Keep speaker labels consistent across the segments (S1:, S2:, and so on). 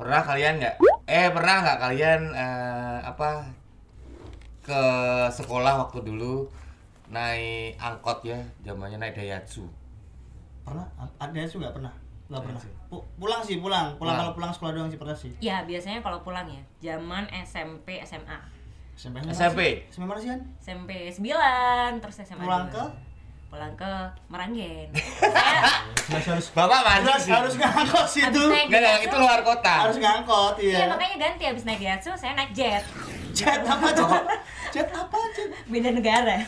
S1: pernah kalian nggak eh pernah nggak kalian eh, apa ke sekolah waktu dulu naik angkot ya zamannya naik Daihatsu
S2: pernah ada sih nggak pernah nggak pernah Pu- pulang Iya sih pulang pulang
S1: Pulang.
S2: kalau pulang sekolah doang sih pernah sih
S3: Ya biasanya kalau pulang ya, zaman SMP, SMA.
S2: SMP -nya mana
S1: SMP?
S2: sih? SMP mana sih kan
S3: SMP 9, terus SMA
S2: Pulang
S3: dua.
S2: ke?
S3: Pulang ke Meranggen. Saya
S2: masih harus
S1: bapak mana
S2: harus
S1: sih
S2: harus ngangkot sih itu
S3: Habis
S1: nggak
S3: naik
S1: nggak,
S3: Daihatsu,
S1: itu luar kota
S2: harus ngangkot
S3: Iya
S2: ya
S3: makanya ganti abis naik Daihatsu, saya naik jet.
S2: jet apa tuh jet apa jet
S3: Beda negara.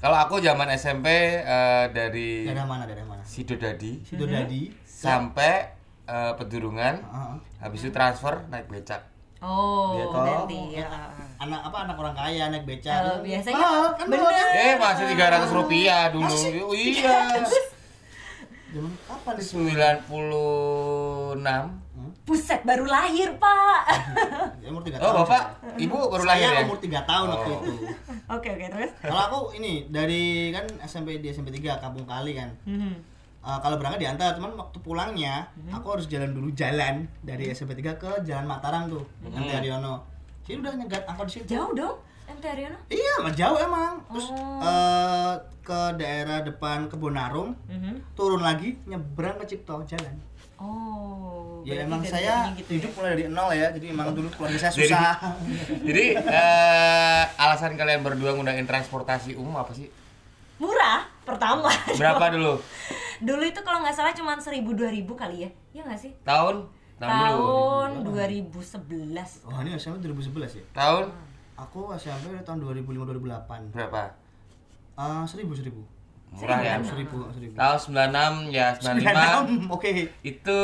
S1: kalau aku zaman SMP eh, dari
S2: daerah mana daerah mana
S1: Sidodadi
S2: situ dadi
S1: sampai eh, Pedurungan
S2: Heeh.
S1: habis itu transfer naik becak
S3: Oh,
S1: Iya, toh.
S3: ganti. ya.
S2: anak apa anak orang kaya naik beca
S3: Kalau
S2: Gitu.
S3: biasanya
S2: Mahal, kan
S3: bener.
S2: mahal, kan?
S1: eh masih 300 rupiah dulu iya
S2: Zaman kapan itu
S1: 96
S3: Buset, baru lahir, Pak.
S2: Ya, umur tiga
S1: oh
S2: tahun
S1: bapak
S2: saya.
S1: ibu baru
S2: saya
S1: lahir ya
S2: umur 3 tahun waktu
S1: Oh.
S2: itu
S3: Oke, oke, terus.
S2: kalau aku ini dari kan SMP di SMP 3 kampung kali kan
S3: Mhm.
S2: Eh, kalau berangkat diantar cuman waktu pulangnya aku harus jalan dulu jalan dari SMP 3 ke Jalan Mataram tuh MT Haryono jadi udah nyegat angkot di situ
S3: Jauh dong, MT Aryono.
S2: iya mah jauh emang terus
S3: Oh.
S2: eh, ke daerah depan Kebonarum
S3: Mhm.
S2: turun lagi nyebrang ke Cipto jalan
S3: Oh.
S2: ya
S3: berarti
S2: emang
S3: dari
S2: saya
S3: dulunya gitu ya.
S2: hidup mulai dari nol ya jadi emang dulu keluarga saya
S1: Jadi-
S2: susah
S1: jadi eh, alasan kalian berdua ngundangin transportasi umum apa sih
S3: Murah pertama.
S1: berapa dulu
S3: Dulu itu kalau nggak salah cuma 1000 2000 kali ya. Iya nggak sih?
S1: tahun tahun dulu
S3: Tahun 2011.
S2: wah ini SMP 2011 ya
S1: tahun
S2: aku SMP dari tahun 2005 2008
S1: berapa
S2: Ah, seribu seribu
S1: murah ya
S2: seribu seribu
S1: tahun 96 ya 95
S2: 96, oke
S1: itu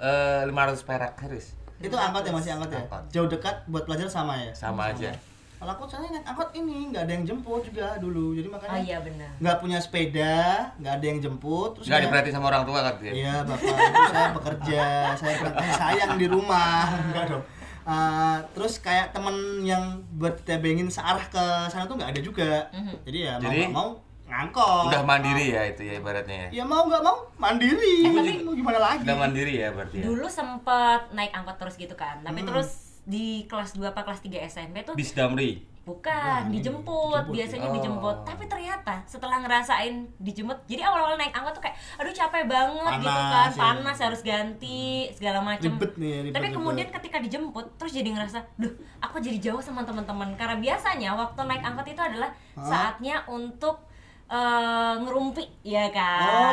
S1: eh, 500 perak harus
S2: itu angkot ya masih angkot ya
S1: Angkot.
S2: jauh dekat buat pelajar sama ya
S3: Oh,
S1: sama aja
S2: kalau aku soalnya naik angkot ini nggak ada yang jemput juga dulu jadi makanya
S3: Oh iya benar.
S2: nggak punya sepeda nggak ada yang jemput terus
S1: nggak
S2: saya-
S1: diperhatiin sama orang tua kan dia
S2: Iya bapak, ibu saya bekerja, saya berangkat sayang di rumah, enggak dong. Eh, terus kayak temen yang buat kita bengin searah ke sana tuh nggak ada juga.
S3: Mhm.
S2: Jadi ya mau
S1: Jadi?
S2: nggak mau ngangkot.
S1: udah mandiri ya itu ya ibaratnya ya
S2: Ya mau nggak mau mandiri.
S3: Eh, tapi-
S2: mau gimana lagi?
S1: udah mandiri ya berarti ya.
S3: Dulu sempat naik angkot terus gitu kan. Tapi terus di kelas 2 apa kelas 3 SMP tuh
S1: bis Damri
S3: bukan dijemput,
S2: dijemput
S3: biasanya
S1: ya.
S3: dijemput.
S1: Oh.
S3: Tapi ternyata setelah ngerasain dijemput, jadi awal-awal naik angkot tuh kayak aduh capek banget gitu
S2: Panas,
S3: kan,
S2: ya.
S3: panas harus ganti segala macem
S2: Ribet nih, ribet,
S3: Tapi
S2: ribet.
S3: kemudian ketika dijemput terus jadi ngerasa, duh, aku jadi jauh sama teman-teman karena biasanya waktu naik angkot itu adalah saatnya untuk eh, ngerumpi,
S2: Oh
S3: ya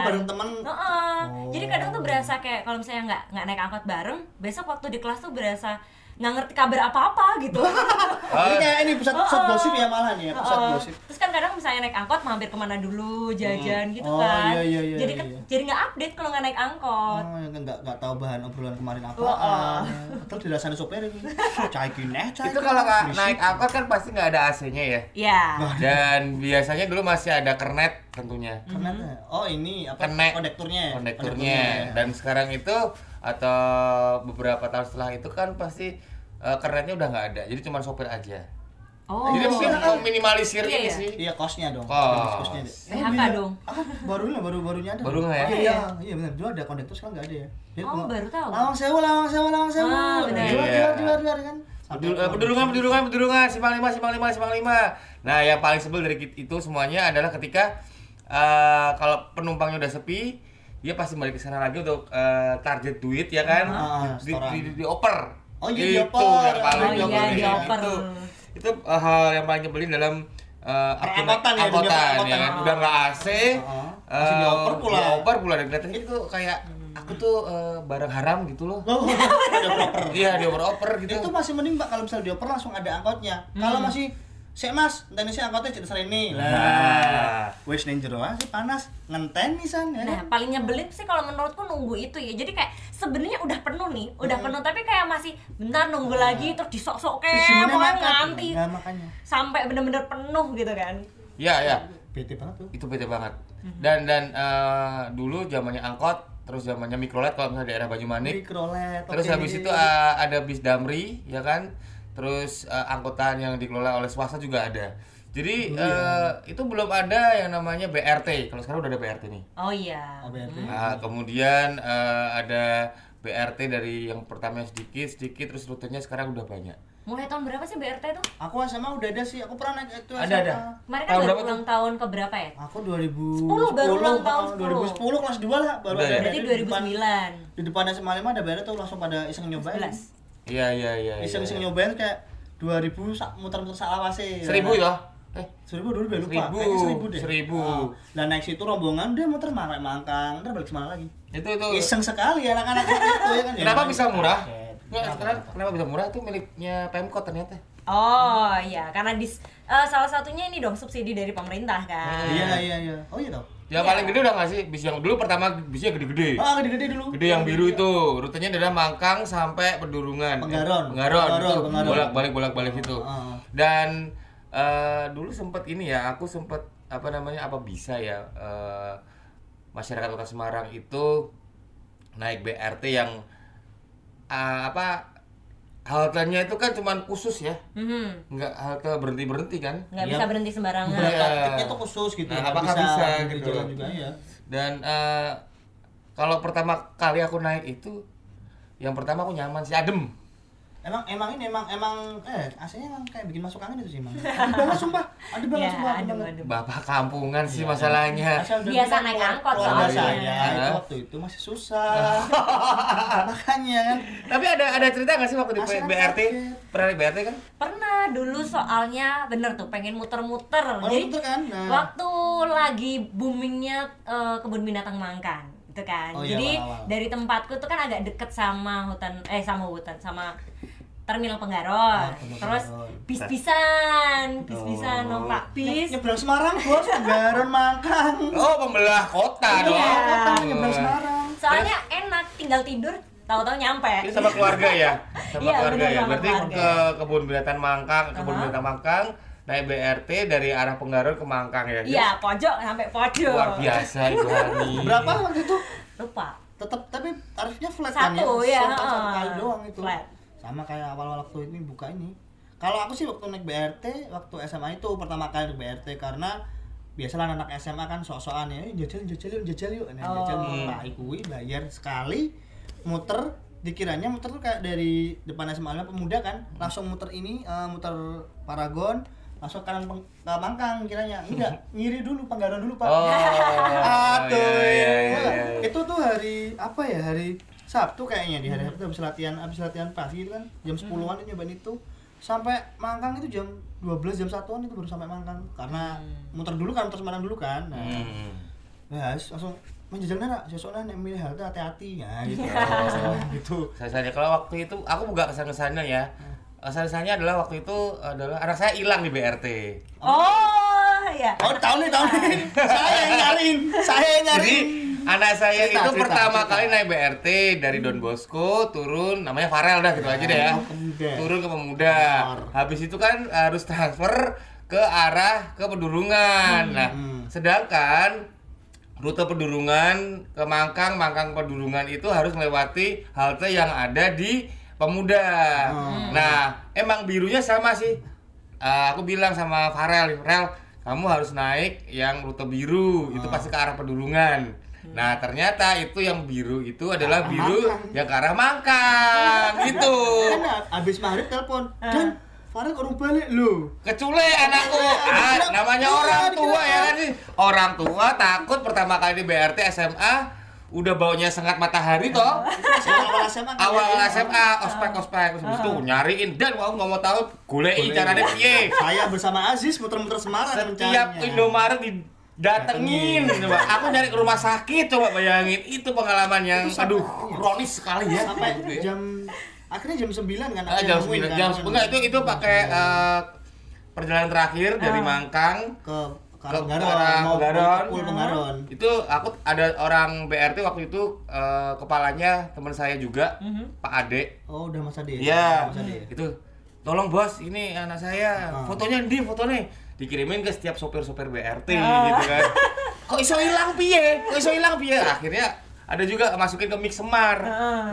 S3: kan?
S2: bareng temen.
S3: Heeh.
S2: Oh.
S3: Jadi kadang tuh berasa kayak kalau misalnya nggak nggak naik angkot bareng, besok waktu di kelas tuh berasa nggak ngerti kabar apa-apa gitu.
S2: Jadi
S1: Ah.
S2: kayak ini pusat pusat
S3: Oh.
S2: gosip ya malahan ya pusat
S3: Heeh.
S2: gosip.
S3: Terus kan kadang misalnya naik angkot mampir kemana dulu jajan gitu
S2: Oh,
S3: kan.
S2: iya, iya, iya,
S3: jadi
S2: iya,
S3: ke-
S2: iya.
S3: jadi nggak update kalau nggak naik angkot.
S2: Oh, yang nggak nggak tahu bahan obrolan kemarin apa.
S3: Oh, oh.
S2: Betul dirasain sopir ini. Caikin eh, caikin.
S1: itu kalau nggak
S2: Berisik.
S1: naik angkot kan pasti nggak ada AC-nya ya
S3: Ya.
S1: dan biasanya dulu masih ada kernet tentunya
S2: Karena
S3: Hmm.
S2: oh ini apa
S1: Kene.
S2: konektornya ya?
S1: kondekturnya dan sekarang itu atau beberapa tahun setelah itu kan pasti eh, kernetnya udah nggak ada jadi cuma sopir aja
S3: Oh.
S1: jadi mungkin meminimalisir
S3: Iya,
S1: ini
S3: iya.
S1: sih
S2: Iya kosnya dong.
S1: Kos.
S2: Kosnya deh.
S3: PHK dong.
S2: Ah, baru lah baru barunya ada.
S1: Baru nggak ya?
S2: Oh, Iya, iya benar. Dulu ada kondektor sekarang nggak ada ya. Jadi
S3: Oh,
S2: pengo-
S3: baru tahu.
S2: Lawang sewu, lawang sewu, lawang sewu.
S3: Ah, benar.
S2: Di luar, di
S1: Iya.
S2: luar, di luar, di luar, kan.
S1: Pedul- eh, pedulungan, pedulungan, pedulungan, simpang lima, simpang lima, simpang lima. Nah, yang paling sebel dari kit- itu semuanya adalah ketika eh, kalau penumpangnya udah sepi, dia pasti balik ke sana lagi untuk eh, target duit ya kan,
S2: Ah,
S1: di,
S2: setoran.
S1: di, di- dioper.
S2: Oh iya, Ah,
S1: Itu
S2: dioper.
S1: yang paling
S3: Oh iya,
S1: nyebelin.
S3: dioper.
S1: Itu, itu eh, hal yang paling nyebelin dalam eh, aku naik
S2: Angkotan ya, dunia
S1: angkotan, ya,
S2: perangkotan.
S1: kan? udah nggak AC,
S2: Heeh.
S1: eh,
S2: ah. Masih dioper pula. Hmm.
S1: dioper pula dan kelihatannya itu kayak aku tuh eh, barang haram gitu loh.
S2: Oh, ada proper.
S1: Iya, dioper-oper gitu.
S2: Itu masih mending Pak kalau misal dioper langsung ada angkotnya. Kalau
S1: Hmm.
S2: masih Sek mas, dan ini angkotnya cerita sereni
S1: Nah.
S2: Lah, wes neng jero ah, sih panas, ngenten nisan ya.
S3: Nah, paling nyebelin sih kalau menurutku nunggu itu ya. Jadi kayak sebenarnya udah penuh nih, udah penuh tapi kayak masih bentar nunggu lagi terus disok-sok
S2: Terus
S3: kayak
S2: gimana
S3: mau
S2: makan?
S3: eh, nganti
S2: Nah, makanya.
S3: sampai bener-bener penuh gitu kan.
S1: Iya, iya.
S2: Bete banget tuh.
S1: itu bete banget dan dan eh, dulu zamannya angkot terus zamannya mikrolet kalau misalnya daerah Banyumanik
S2: Mikrolet.
S1: terus
S2: oke.
S1: habis itu eh, ada bis damri ya kan terus eh, angkutan yang dikelola oleh swasta juga ada jadi eh, itu belum ada yang namanya
S2: Ah,
S1: BRT kalau sekarang udah ada BRT nih
S2: Hmm.
S3: Oh iya.
S2: Oh, berarti.
S1: Nah, kemudian eh, ada BRT dari yang pertama sedikit sedikit terus rutenya sekarang udah banyak.
S3: Mulai tahun berapa sih BRT itu?
S2: Aku SMA udah ada sih, aku pernah naik itu
S1: Ada,
S2: SMA.
S1: ada.
S3: Kemarin
S1: Tahun
S3: kan baru
S1: berapa tuh?
S3: ulang tahun ke berapa ya?
S2: Aku 2010
S3: 10, baru ulang tahun
S2: 10. 2010 kelas 2 lah baru
S1: Udah ya?
S3: Berarti
S2: di depan-
S3: 2009.
S2: Di depan SMA 5 ada BRT tuh langsung pada iseng nyobain.
S3: 11.
S1: Iya iya iya. iya,
S2: Iseng-iseng
S1: iya.
S2: nyobain kayak 2000 sak- muter-muter salawase.
S1: Seribu ya? Eh,
S2: Seribu dulu udah lupa,
S1: Seribu,
S2: kayaknya seribu deh.
S1: seribu.
S2: Ah, Lah naik situ rombongan dia muter marak mangkang, ntar balik semana lagi.
S1: itu itu.
S2: Iseng sekali anak-anak itu ya kan. ya.
S1: Oh. Kenapa bisa murah? Nggak,
S2: Kenapa?
S1: sekarang kenapa bisa murah itu miliknya Pemkot ternyata.
S3: Oh iya, karena dis, eh, salah satunya ini dong subsidi dari pemerintah kan.
S2: Iya iya iya. Oh iya tau.
S1: Yang
S3: Iya.
S1: paling gede udah nggak sih? Bis yang dulu pertama bisnya gede-gede.
S2: Ah iya. gede-gede dulu.
S1: Iya. Gede yang biru itu, rutenya dari Mangkang sampai Pedurungan.
S2: Penggaron.
S1: Eh, Penggaron.
S2: Penggaron,
S1: itu
S2: Penggaron.
S1: Bolak-balik bolak-balik
S2: Ah,
S1: itu.
S2: Heeh.
S1: Dan eh, dulu sempet ini ya, aku sempet apa namanya? Apa bisa ya eh, masyarakat Kota Semarang itu naik BRT yang eh, apa haltenya itu kan cuman khusus ya.
S3: Mhm.
S1: Nggak halte berhenti-berhenti kan.
S3: Nggak
S2: Iya.
S3: bisa berhenti sembarangan.
S1: Iya.
S2: Taktiknya tuh khusus gitu.
S1: Nah,
S2: nggak
S1: apakah bisa gitu?
S2: jalan juga ya.
S1: Dan eh, kalau pertama kali aku naik itu yang pertama aku nyaman sih adem.
S2: Emang emang ini emang emang eh aslinya emang kayak bikin masuk angin itu sih emang. Ada banget sumpah. Ada banget
S3: Ya,
S2: sumpah. ada
S3: aduh,
S2: banget.
S3: aduh.
S1: Bapak kampungan sih
S3: Iya,
S1: masalahnya.
S2: Asal udah
S3: Biasa
S2: bilang
S3: naik
S2: keluar-
S3: angkot
S2: keluar
S1: soalnya.
S2: saya,
S1: Iya.
S2: itu waktu itu masih susah. Makanya kan.
S1: Tapi ada ada cerita nggak sih waktu di
S2: Masyarakat.
S1: BRT? Pernah naik BRT kan?
S3: Pernah dulu soalnya bener tuh pengen muter-muter.
S2: Orang
S3: Jadi
S2: muter kan. Nah.
S3: waktu lagi boomingnya eh, kebun binatang Mangkan gitu kan.
S2: Oh iya,
S3: Jadi
S2: awal-awal.
S3: dari tempatku tuh kan agak deket sama hutan eh sama hutan sama terminal Penggaron.
S2: Ah, terminal Oh.
S3: Terus
S2: Penggaron.
S3: bis-bisan, bis-bisan numpak bis. Iya.
S2: Nyebrang Semarang bos, Penggaron Mangkang.
S1: Oh pembelah kota
S2: Iya,
S1: dong.
S2: kota nyebrang Semarang.
S3: Soalnya enak tinggal tidur, tahu-tahu
S1: Ini
S3: nyampe.
S1: sama keluarga ya, sama
S3: Iya,
S1: keluarga
S3: bener,
S1: ya.
S3: sama
S1: Berarti
S3: keluarga.
S1: ke kebun binatang Mangkang, kebun
S3: Aha.
S1: binatang Mangkang, naik BRT dari arah Penggaron ke Mangkang ya.
S3: Iya, pojok sampai pojok.
S1: Luar biasa Ibu Hani.
S2: Berapa waktu itu?
S3: Lupa.
S2: Tetap tapi tarifnya flat kan ya.
S3: Satu, ya,
S2: Satu- satu
S3: heeh.
S2: kali doang itu.
S3: Flat.
S2: Sama kayak awal-awal waktu ini buka ini. Kalau aku sih waktu naik BRT, waktu SMA itu pertama kali naik BRT karena biasalah anak SMA kan sok-sokan ya, "Eh, jajal jajal yuk, jajal yuk, nah, jajal
S3: Oh.
S2: tak ikui bayar sekali muter dikiranya muter tuh kayak dari depan SMA Lima pemuda kan langsung muter ini eh, muter Paragon langsung kanan peng, ke Mangkang kiranya enggak ngiri dulu penggaran dulu pak
S1: Oh,
S2: Aduh.
S1: iya, iya, iya, iya.
S2: Itu tuh hari apa ya? Hari Sabtu kayaknya di hari
S1: Hmm.
S2: Sabtu habis latihan habis latihan pagi itu kan jam 10-an dia nyobain itu sampai Mangkang itu jam 12 jam 1-an itu baru sampai Mangkang karena muter dulu kan muter Semarang dulu kan. Nah,
S1: Hmm.
S2: bahas, langsung menjajal nara, sosoknya nek milih halte hati-hati ya gitu. gitu.
S1: Saya Oh. kalau waktu itu aku buka kesan-kesannya ya.
S2: Hmm.
S1: Kesan-kesannya adalah waktu itu adalah anak saya hilang di BRT.
S3: Oh, iya.
S2: Oh, tahun nih, tahun nih. Saya yang nyariin, saya yang
S1: Jadi
S2: nyariin.
S1: anak saya
S2: Cerita,
S1: itu
S2: cerita,
S1: pertama
S2: cerita.
S1: kali naik BRT dari Don Bosco turun namanya Farel dah gitu aja deh ya.
S2: Ke Pemuda.
S1: Turun ke Pemuda. Habis itu kan harus transfer ke arah ke Pedurungan.
S2: Hmm,
S1: Nah, sedangkan rute Pedurungan ke Mangkang, Mangkang Pedurungan itu harus melewati halte yang ada di Pemuda.
S2: Hmm.
S1: Nah, emang birunya sama sih. Eh, aku bilang sama Farel, Farel, kamu harus naik yang rute biru,
S2: Hmm.
S1: itu pasti ke arah Pedurungan. Nah, ternyata itu yang biru itu adalah biru
S2: Mangkang.
S1: yang ke arah Mangkang gitu.
S2: Kan habis maghrib telepon,
S1: Hmm.
S2: "Dan Farah kok urung balik lu."
S1: Kecule anakku. Ah, namanya orang tua ya kan sih. Orang tua takut pertama kali di BRT SMA udah baunya sengat matahari toh.
S2: awal SMA kan
S1: Awal
S2: ya.
S1: SMA ospek ospek terus habis itu nyariin dan aku nggak mau tahu golei caranya piye.
S2: saya bersama Aziz muter-muter Semarang
S1: Setiap Indomaret didatengin coba. Aku nyari ke rumah sakit coba bayangin itu pengalaman yang aduh kronis sekali ya.
S2: sampai
S1: Gitu ya.
S2: jam akhirnya jam 9 kan
S1: Ah,
S2: akhirnya
S1: jam
S2: nemuin
S1: 9
S2: kan,
S1: jam
S2: nemuin.
S1: enggak itu itu pakai eh, perjalanan terakhir dari Mangkang
S2: ke
S1: ke
S2: ke Penggaron
S1: arah
S2: mau
S1: Penggaron.
S2: pul Penggaron
S1: itu aku ada orang BRT waktu itu eh, kepalanya teman saya juga Pak Ade
S2: oh udah Mas Ade
S1: Iya
S2: Mas Ade Ah.
S1: itu tolong bos ini anak saya fotonya di fotonya dikirimin ke setiap sopir-sopir BRT gitu kan kok iso hilang piye kok iso hilang piye akhirnya ada juga masukin ke Mix Semar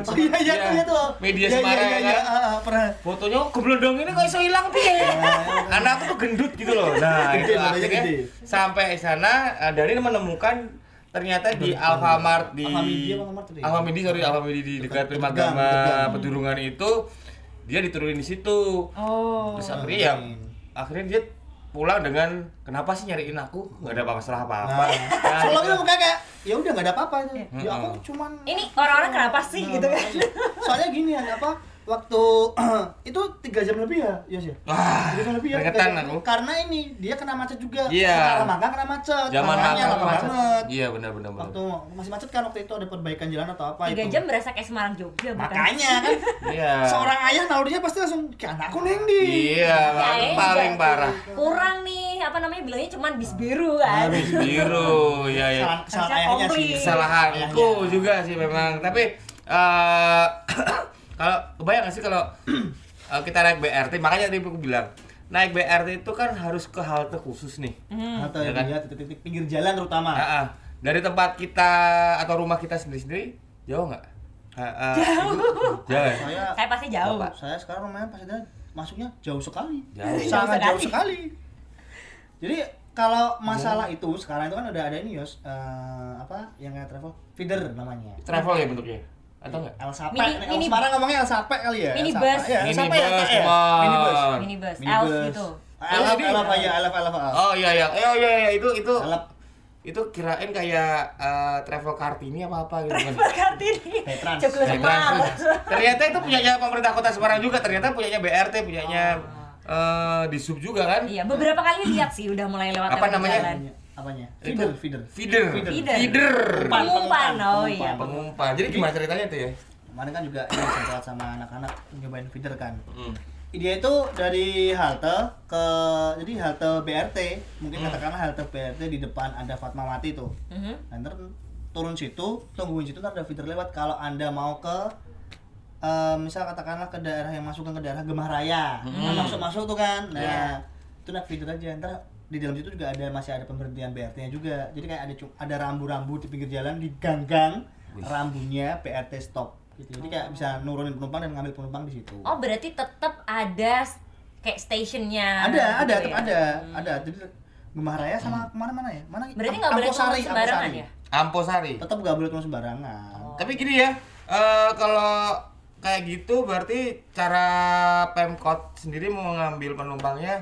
S1: Mix
S2: oh
S1: Semar,
S2: iya iya iya tuh
S1: media
S2: Iya, iya,
S1: Semarang
S2: iya
S1: ya
S2: iya
S1: kan
S2: ah, ah, pernah
S1: fotonya "Oh, geblondong ini kok iso hilang piye karena aku tuh gendut gitu loh nah
S2: Gede,
S1: itu
S2: badannya
S1: akhirnya
S2: gede.
S1: sampai sana eh, Dani menemukan ternyata di Alfamart di
S2: Alfamidi, Alfamart tadi.
S1: Alfamidi sorry Alfamidi di dekat
S2: Dekat-
S1: Prima
S2: dekat gang,
S1: Gama
S2: dekat gang.
S1: Pedurungan itu dia diturunin di situ
S3: Oh.
S1: terus akhirnya ya akhirnya dia pulang dengan kenapa sih nyariin aku nggak ada apa-apa salah apa-apa
S2: Nah,
S1: Nah,
S2: soalnya
S1: gitu.
S2: sama kakak, ya udah nggak ada apa-apa itu. Ya aku
S1: Mm-mm.
S2: cuman
S3: Ini orang-orang kenapa sih
S2: Nah,
S3: gitu kan?
S2: makanya. Soalnya gini ya, apa waktu itu tiga jam lebih ya, ya sih.
S1: wah
S2: Tiga jam lebih ya.
S1: keringetan
S2: tiga jam-
S1: aku
S2: Karena ini dia kena macet juga.
S1: Iya.
S2: Karena makan kena macet.
S1: zaman
S2: Makanya
S1: makan
S2: lama
S1: macet
S2: banget.
S1: iya benar-benar benar.
S2: Waktu masih macet kan waktu itu ada perbaikan jalan atau apa
S3: Tiga
S2: itu.
S3: jam berasa kayak Semarang Jogja bukan?
S2: Makanya kan
S1: iya
S2: seorang ayah nalurinya pasti langsung ke anakku Nendi.
S1: iya
S3: Ya,
S1: paling
S3: iya.
S1: parah
S3: Kurang nih apa namanya bilangnya cuman bis biru kan?
S1: Habis biru ya ya
S2: Kesalahan, kesalahan
S3: Harusnya
S2: ayahnya sih.
S3: komplit.
S1: Iya. kesalahanku juga sih memang tapi eh kalau kebayang nggak sih kalau eh, kita naik BRT makanya tadi aku bilang naik BRT itu kan harus ke halte khusus nih
S2: Atau
S1: Ya
S2: ya,
S1: kan?
S2: titik-titik pinggir jalan terutama.
S1: Ah, ah. dari tempat kita atau rumah kita sendiri-sendiri jauh nggak jauh jauh ya?
S2: Saya
S3: Saya pasti jauh.
S1: Bapak.
S2: saya sekarang rumahnya pas ada masuknya jauh sekali
S1: Jauh.
S2: sangat
S3: Jauh
S2: jauh sekali jadi kalau masalah itu sekarang itu kan udah ada ini yos eh, apa yang kayak travel feeder namanya
S1: travel ya bentuknya atau nggak
S2: El Sape,
S3: Mini-
S2: El
S3: mini-
S2: Semarang ngomongnya El Sape kali ya El
S3: Minibus.
S2: Sape, ya, El
S1: Minibus,
S2: Sape ya, Kak, ya?
S1: Mon.
S2: Minibus.
S3: Minibus,
S2: Minibus.
S3: elf gitu.
S2: Elf,
S1: Jadi-
S2: elf aja, elf, elf, elf.
S1: oh iya iya Eh, oh iya iya itu itu
S2: Elf.
S1: itu kirain kayak eh, travel kartini apa apa gitu kan
S3: Kartini.
S2: Petrans.
S3: Joglo
S1: Naik
S3: Semar.
S1: transit. ternyata itu punyanya pemerintah kota Semarang juga ternyata punyanya BRT punyanya eh, di sub juga kan
S3: Iya, beberapa kali lihat sih udah mulai lewat
S1: Apa
S3: lewat
S1: namanya?
S3: jalan.
S2: eh, apanya
S1: Itu
S2: feeder feeder
S1: feeder
S2: Feeder.
S1: feeder,
S3: Pengumpan,
S2: Pengumpan,
S3: oh
S2: pengumpan.
S3: iya.
S1: pengumpan jadi gimana ceritanya tuh ya
S2: kemarin kan juga ini sempat sama anak-anak nyobain feeder kan dia itu dari halte ke jadi halte BRT mungkin katakanlah halte BRT di depan ada Fatmawati tuh
S3: Mhm.
S2: Nah, ntar turun situ tungguin situ ntar ada feeder lewat kalau anda mau ke eh, misal katakanlah ke daerah yang masuk ke daerah Gemah Raya Kan masuk masuk tuh kan nah itu naik feeder aja ntar di dalam situ juga ada masih ada pemberhentian BRT-nya juga jadi kayak ada cu- ada rambu-rambu di pinggir jalan di gang-gang rambunya BRT stop gitu jadi kayak bisa nurunin penumpang dan ngambil penumpang di situ
S3: Oh, berarti tetap ada s- kakayak stationnya.
S2: ada ada
S3: gitu ya? Hmm.
S2: tetap ada ada jadi Gemah Raya sama kemana mana ya mana
S3: Berarti nggak boleh
S2: Amposari,
S3: turun sembarangan
S2: Amposari.
S3: ya? Oh.
S1: Amposari
S2: tetap nggak boleh turun sembarangan
S1: tapi gini ya eh, kalau kayak gitu berarti cara pemkot sendiri mau ngambil penumpangnya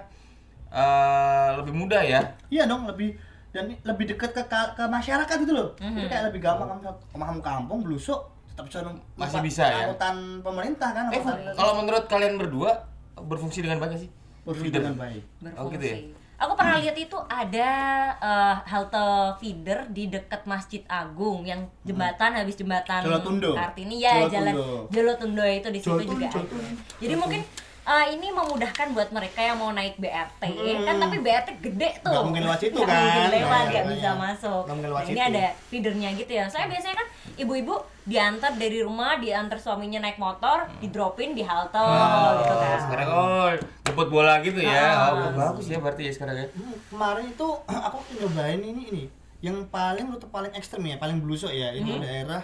S1: eh, lebih mudah ya
S2: Iya dong lebih dan lebih dekat ke ka- ke masyarakat gitu loh.
S3: Hmm.
S2: Jadi kayak lebih gampang kamu paham kampung blusuk tetap bisa num-
S1: Masih
S2: numpak
S1: bisa ya?
S2: angkutan pemerintah kan
S1: eh
S2: angkutan
S1: kalau menurut kalian berdua berfungsi dengan baik nggak sih
S2: berfungsi
S1: Feeder.
S2: dengan baik.
S1: Oh, gitu ya?
S3: Berfungsi. Aku pernah lihat itu ada eh, halte feeder di dekat Masjid Agung yang jembatan habis jembatan
S2: Jolotundo.
S3: Kartini ya jalan
S2: Jolotundo.
S3: Jolotundo itu di situ
S2: Jolotun,
S3: juga ada.
S2: Jolotun.
S3: Jadi mungkin eh, ini memudahkan buat mereka yang mau naik BRT kan tapi BRT gede tuh.
S2: Nggak mungkin lewat situ
S3: Nggak mungkin
S2: kan?
S3: lewat
S2: Iya,
S3: nggak
S2: iya,
S3: bisa
S2: iya.
S3: masuk.
S2: Nggak mungkin lewat
S3: Nah, ini
S2: situ.
S3: ada feedernya gitu ya. Saya biasanya kan ibu-ibu diantar dari rumah, diantar suaminya naik motor, didropin di halte
S2: Ah,
S3: gitu
S1: Oh,
S3: kan.
S1: sekarang oh jemput bola gitu ya.
S3: Ah.
S1: Oh, bagus ya berarti ya sekarang ya.
S2: Hmm, kemarin itu aku nyobain ini ini yang paling rute paling ekstrem ya paling blusuk ya itu
S3: Hmm.
S2: daerah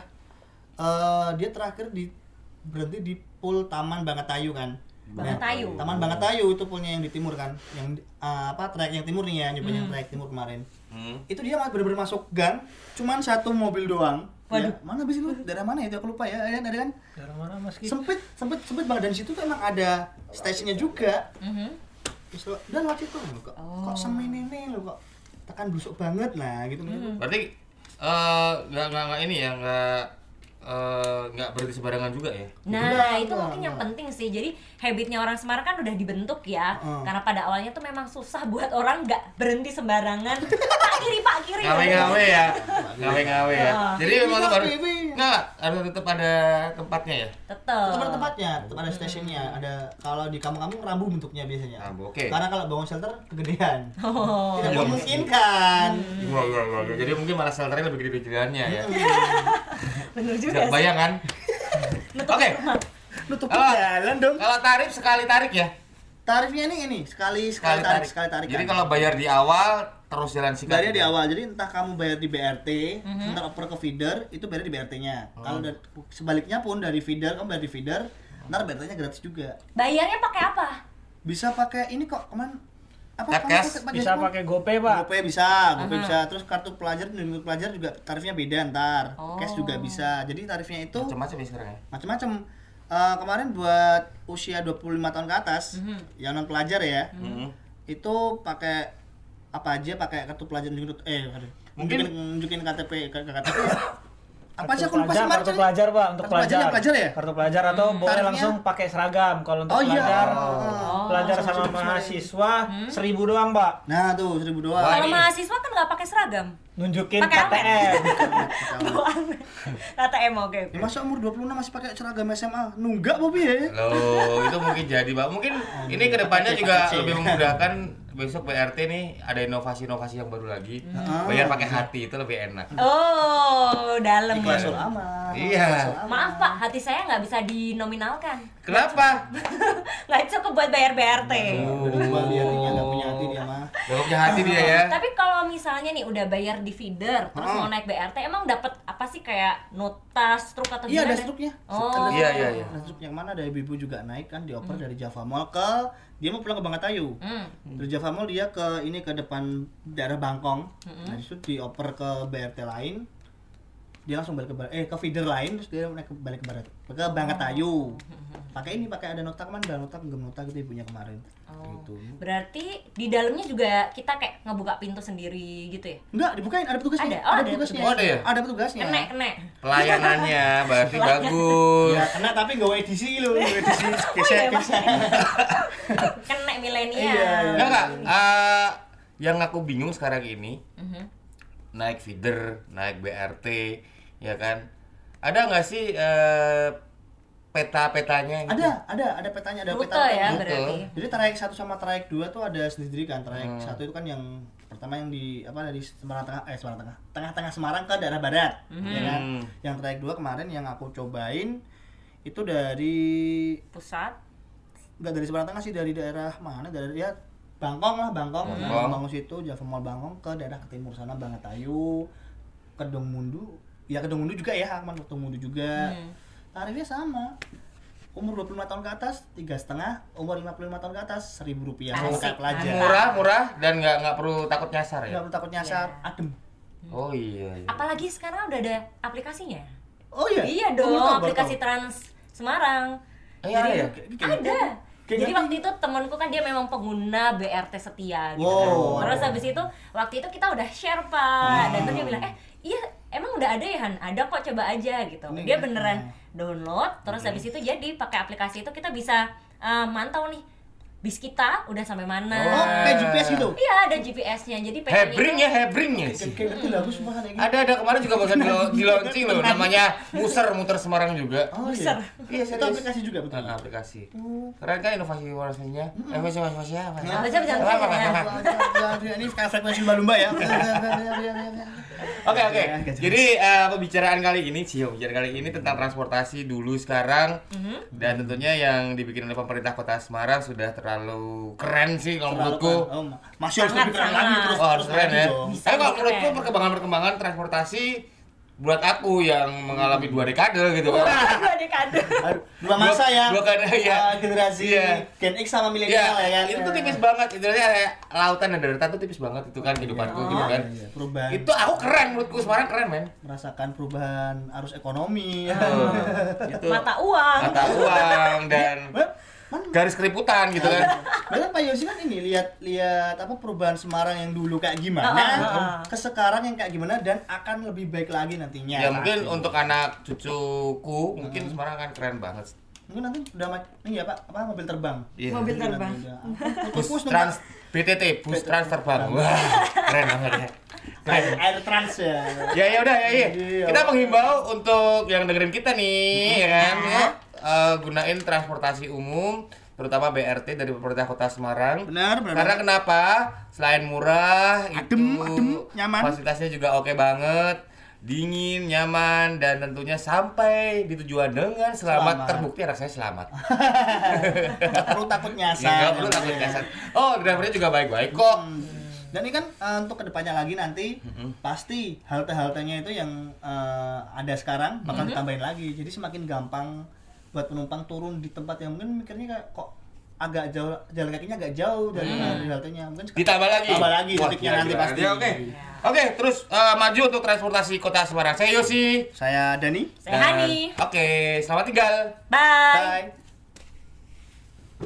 S2: eh dia terakhir di berhenti di pool Taman Bangatayu kan.
S3: Bangatayu.
S2: Taman Bangatayu itu punya yang di timur kan, yang eh, apa trayek yang timur nih ya, nyobain yang trayek timur kemarin.
S1: Hmm.
S2: itu dia mas bener-bener masuk gang cuman satu mobil doang
S3: Waduh.
S2: Ya, mana bis itu daerah mana itu aku lupa ya ada, ada kan
S4: Daerah mana Mas Ki?
S2: sempit sempit sempit banget dan di situ tuh emang ada stasiunnya juga
S3: Mhm.
S2: Terus lo- dan waktu itu loh kok kok semini ini lo kok tekan busuk banget nah gitu
S1: Berarti eh nggak nggak nggak ini ya nggak eh, nggak berhenti sembarangan juga ya.
S3: Nah,
S2: Enggak,
S3: itu
S2: enggak,
S3: mungkin yang
S2: enggak.
S3: penting sih. Jadi habitnya orang Semarang kan udah dibentuk ya.
S2: Heeh.
S3: Karena pada awalnya tuh memang susah buat orang nggak berhenti sembarangan. pak kiri, pak kiri.
S1: Ngawe-ngawe ya. Ngawe-ngawe ya.
S3: Ah.
S1: Jadi memang
S2: Iya,
S1: harus
S2: iya, iya.
S1: nggak harus tetap ada tempatnya ya.
S3: Tetep.
S2: Tetap ada tempatnya, tetap ada stasiunnya. Ada kalau di kampung-kampung rambu bentuknya biasanya.
S1: Rambu, oke.
S2: Karena kalau bangun shelter kegedean.
S3: Oh.
S2: Tidak
S1: Iya,
S2: memungkinkan.
S1: Iya iya iya. iya. Jadi mungkin malah shelternya lebih gede jalannya ya.
S2: Iya. Gitu.
S3: Bener juga
S1: Nggak
S3: sih.
S1: bayang kan? Oke.
S2: Nutup
S1: Ah.
S2: jalan dong.
S1: Kalau tarif sekali tarik ya.
S2: Tarifnya nih ini sekali
S1: Sekali
S2: sekali tarik,
S1: tarik.
S2: sekali tarik.
S1: Jadi kalau bayar di awal terus jalan sikat.
S2: Bayarnya di awal, jadi entah kamu bayar di BRT, ntar oper ke feeder, itu bayar di BRT-nya.
S1: Oh.
S2: Kalau dari- sebaliknya pun dari feeder, kamu bayar di feeder, ntar BRT-nya gratis juga.
S3: Bayarnya pakai apa?
S2: Bisa pakai ini kok, kemarin apa
S1: Tap
S2: apa-
S1: cash?
S2: apa- apa-
S4: Bisa
S2: apa-
S4: pakai GoPay, Pak.
S2: GoPay bisa, GoPay
S3: Aha.
S2: bisa. Terus kartu pelajar dan kartu pelajar juga tarifnya beda ntar. Cash juga
S3: Oh.
S2: bisa. Jadi tarifnya itu
S1: Macam-macam ya sekarang ya.
S2: macam-macam. Eh, kemarin buat usia 25 tahun ke atas
S3: Mhm.
S2: yang non pelajar ya.
S4: Mhm.
S1: Mm-mm.
S2: Itu pakai apa aja pakai kartu pelajar nunjukin kartu- eh aduh.
S1: Mungkin-
S2: nunjukin, nunjukin KTP ke ke KTP. apa sih aku lupa
S4: pelajar,
S2: sih
S4: kartu pelajar pak untuk
S2: Kartu pelajar,
S4: pelajar
S2: yang pelajar ya?
S4: kartu pelajar atau boleh
S2: Tarifnya?
S4: langsung pakai seragam kalau untuk
S2: Oh, iya.
S4: pelajar
S2: Oh.
S4: pelajar
S2: Langsung
S4: sama
S2: masuk ke
S4: mahasiswa seribu doang pak
S2: Nah, tuh 1000 doang.
S1: Wah,
S3: Kalau
S1: ini-
S3: mahasiswa kan nggak pakai seragam.
S4: nunjukin
S3: Pakai apa?
S4: KTM
S3: Doang. KTM oke.
S2: Ya, masa umur 26 masih pakai seragam SMA? Nunggak, Bobi ya?
S1: Loh, itu mungkin jadi, Pak. Mungkin ini kedepannya
S2: Pakai
S1: juga
S2: pakai.
S1: lebih memudahkan besok BRT nih ada inovasi-inovasi yang baru lagi.
S2: Hmm.
S1: Bayar pakai hati itu lebih enak.
S3: Oh, dalam.
S2: Ikhlas ul amal.
S1: Iya.
S2: Ikhlas ul amal.
S3: Maaf Pak, hati saya nggak bisa dinominalkan.
S1: Kenapa?
S3: Nggak cukup buat bayar BRT.
S2: Berubah dia hatinya, nggak punya hati dia mah.
S1: Gak punya hati dia ya.
S3: Tapi kalau misalnya nih udah bayar di feeder, terus
S2: Hmm.
S3: mau naik BRT, emang dapat apa sih kayak nota struk atau
S2: Iya,
S3: gimana?
S2: ada struknya.
S3: Oh.
S1: Iya, iya, iya.
S2: Ada struk yang mana ada ibu-ibu juga naik kan dioper dari Java Mall ke dia mau pulang ke Bangatayu.
S3: Hmm.
S2: Dari Java Mall dia ke ini ke depan daerah Bangkong.
S3: Hmm.
S2: Nah, itu dioper ke BRT lain. Dia langsung balik ke bar- eh ke feeder lain terus dia naik ke balik ke barat. Ke
S3: Oh.
S2: Bangkatayu.
S3: Hmm.
S2: Pakai ini pakai ada nota kemarin, ada nota genggam nota gitu ibunya kemarin.
S3: Oh.
S2: Gitu.
S3: Berarti di dalamnya juga kita kayak ngebuka pintu sendiri gitu ya?
S2: Enggak, dibukain ada petugasnya.
S3: Ada? Oh, ada
S2: petugasnya.
S1: petugas. Oh, ada ya?
S2: Ada petugasnya.
S3: Kene, kene.
S1: Pelayanannya berarti bagus.
S2: Ya, kena tapi gak edisi lu, gak edisi
S3: Oh, iya,
S2: gesek gesek.
S3: Kene milenial.
S2: Iya,
S1: Enggak enggak. Eh, yang aku bingung sekarang ini
S3: Mhm.
S1: naik feeder, naik BRT, ya kan? Ada nggak sih eh, peta-petanya? gitu?
S2: Ada, ada, ada petanya, ada
S3: Rute
S2: peta.
S3: ya
S1: Rute.
S3: berarti.
S2: Jadi trayek satu sama trayek dua tuh ada sendiri kan. Trayek satu itu kan yang pertama yang di apa dari Semarang Tengah, eh Semarang Tengah, tengah-tengah Semarang ke daerah barat, ya kan?
S1: Hmm.
S2: Yang trayek dua kemarin yang aku cobain itu dari
S3: Pusat.
S2: enggak dari Semarang Tengah sih dari daerah mana? Dari ya Bangkong lah, Bangkong. Nah,
S1: Bangkong.
S2: Bangkong situ Java Mall Bangkong ke daerah ke timur sana Bangatayu, Kedung Mundu. Ya Kedung Mundu juga ya, Akman Kedung Mundu juga.
S3: Hmm.
S2: Tarifnya sama. Umur 25 tahun ke atas tiga setengah, umur 55 tahun ke atas seribu rupiah
S3: Asik,
S2: pakai pelajar.
S3: mantap.
S1: Murah, murah dan nggak nggak perlu takut nyasar ya.
S2: Nggak perlu takut nyasar,
S3: Iya.
S2: adem.
S1: Oh iya. iya.
S3: Apalagi sekarang udah ada aplikasinya.
S2: Oh iya.
S3: Iya
S2: Oh,
S3: dong,
S2: baru tahu, baru
S3: aplikasi
S2: tahu.
S3: Trans Semarang.
S1: Eh,
S2: Iya,
S1: ada ya?
S3: Ada.
S2: Kayak gitu.
S3: Jadi
S2: ngerti.
S3: waktu itu temenku kan dia memang pengguna BRT setia gitu.
S2: Wow. Hmm.
S3: Terus habis itu waktu itu kita udah share pak, dan terus dia bilang eh iya emang udah ada ya Han, ada kok coba aja gitu.
S2: Ini Hmm.
S3: Dia
S2: enak.
S3: beneran download, terus habis itu jadi pakai aplikasi itu kita bisa eh, mantau nih bis kita udah sampai mana.
S2: Oh, kayak GPS gitu.
S3: Iya ada GPS-nya, jadi pengen
S1: Hebring ya, hebring ya sih.
S2: Kayak ngerti lah, aku sumpah kayak gitu.
S1: Ada ada kemarin juga barusan di, di launching loh, namanya muser muter Semarang juga.
S2: Oh iya.
S3: Besar.
S2: Iya, itu aplikasi juga betul.
S1: Nah, aplikasi.
S2: Oh.
S1: Keren kan inovasi warnanya? Eh, masih masih masih apa?
S3: Nah, baca, baca, baca, baca.
S2: Ini kayak frekuensi lumba-lumba ya.
S1: Oke oke.
S2: Ya, gak
S1: Jadi eh, pembicaraan kali ini, sih pembicaraan kali ini tentang transportasi dulu sekarang dan tentunya yang dibikin oleh pemerintah Kota Semarang sudah terlalu keren sih kalau menurutku.
S2: Oh, masih harus lebih keren
S3: Sangat,
S2: lagi
S3: sangat.
S2: terus.
S1: Wah, harus
S2: terus
S1: keren
S2: lagi
S1: ya.
S2: dong.
S3: Bisa
S1: Tapi kalau
S3: lebih
S1: menurutku
S3: keren.
S1: perkembangan-perkembangan transportasi buat aku yang mengalami dua dekade gitu.
S2: ya.
S3: Dua dekade.
S2: Aduh, Dua masa ya.
S1: Dua kali, iya.
S2: Ah, generasi
S1: Iya.
S2: Gen X sama milenial ya kan.
S1: Iya, itu tuh tipis banget. Intinya kayak lautan dan daratan tuh tipis banget itu kan kehidupanku gitu
S2: Iya,
S1: kan.
S2: iya, Perubahan.
S1: Itu aku keren menurutku Semarang keren, men.
S2: merasakan perubahan arus ekonomi. ya.
S1: Tuh,
S3: Ah.
S1: Itu
S3: Mata uang.
S2: Ah.
S1: mata uang dan
S2: Well, Man,
S1: garis keriputan gitu kan.
S2: Berarti Pak Yosi kan ini lihat lihat apa perubahan Semarang yang dulu kayak gimana,
S3: Ah, ah, ah.
S2: ke sekarang yang kayak gimana dan akan lebih baik lagi nantinya.
S1: Ya mungkin
S2: Iya, Pasti. Iya.
S1: untuk anak cucuku mungkin Semarang akan keren banget.
S2: mungkin nanti udah ma- ini ya Pak apa mobil terbang.
S1: Iya.
S3: Mobil terbang.
S1: Bus trans BTT, bus trans terbang.
S2: Iya.
S1: Wah, keren banget ya. Keren.
S2: air, air trans ya.
S1: Ya ya udah ya ya.
S2: Iya.
S1: Kita menghimbau untuk yang dengerin kita nih, ya kan? Ya, eh, gunain transportasi umum, terutama BRT dari pemerintah Kota Semarang.
S2: Benar, benar.
S1: Karena kenapa? Selain murah,
S2: Adem,
S1: itu
S2: adem, nyaman.
S1: Fasilitasnya juga oke banget, dingin, nyaman, dan tentunya sampai di tujuan dengan selamat.
S2: Selamat.
S1: Terbukti anak saya selamat.
S2: Nggak perlu takut
S1: Ya,
S2: nyasar. Iya.
S1: nggak perlu takut kesat. Oh, drivernya juga baik-baik kok.
S2: Hmm. Dan ini kan eh, untuk kedepannya lagi nanti pasti halte-haltenya itu yang eh, ada sekarang bakal ditambahin lagi. Jadi semakin gampang buat penumpang turun di tempat yang mungkin mikirnya kayak kok agak jauh jalan kakinya agak jauh dari dari haltenya mungkin sekarang-
S1: Ditambah lagi.
S2: Tambah lagi,
S1: Wah,
S2: detiknya
S1: gila,
S2: nanti
S1: gila.
S2: pasti.
S1: Oke. Oke, terus eh, maju untuk transportasi kota Semarang. Saya Yosi.
S2: saya Dani
S3: Saya
S1: Dan-
S3: Hani.
S1: Oke, selamat tinggal.
S3: Bye.
S2: bye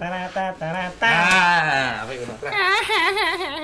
S4: Tanata, tanata.
S1: Nah, apa itu? Nah,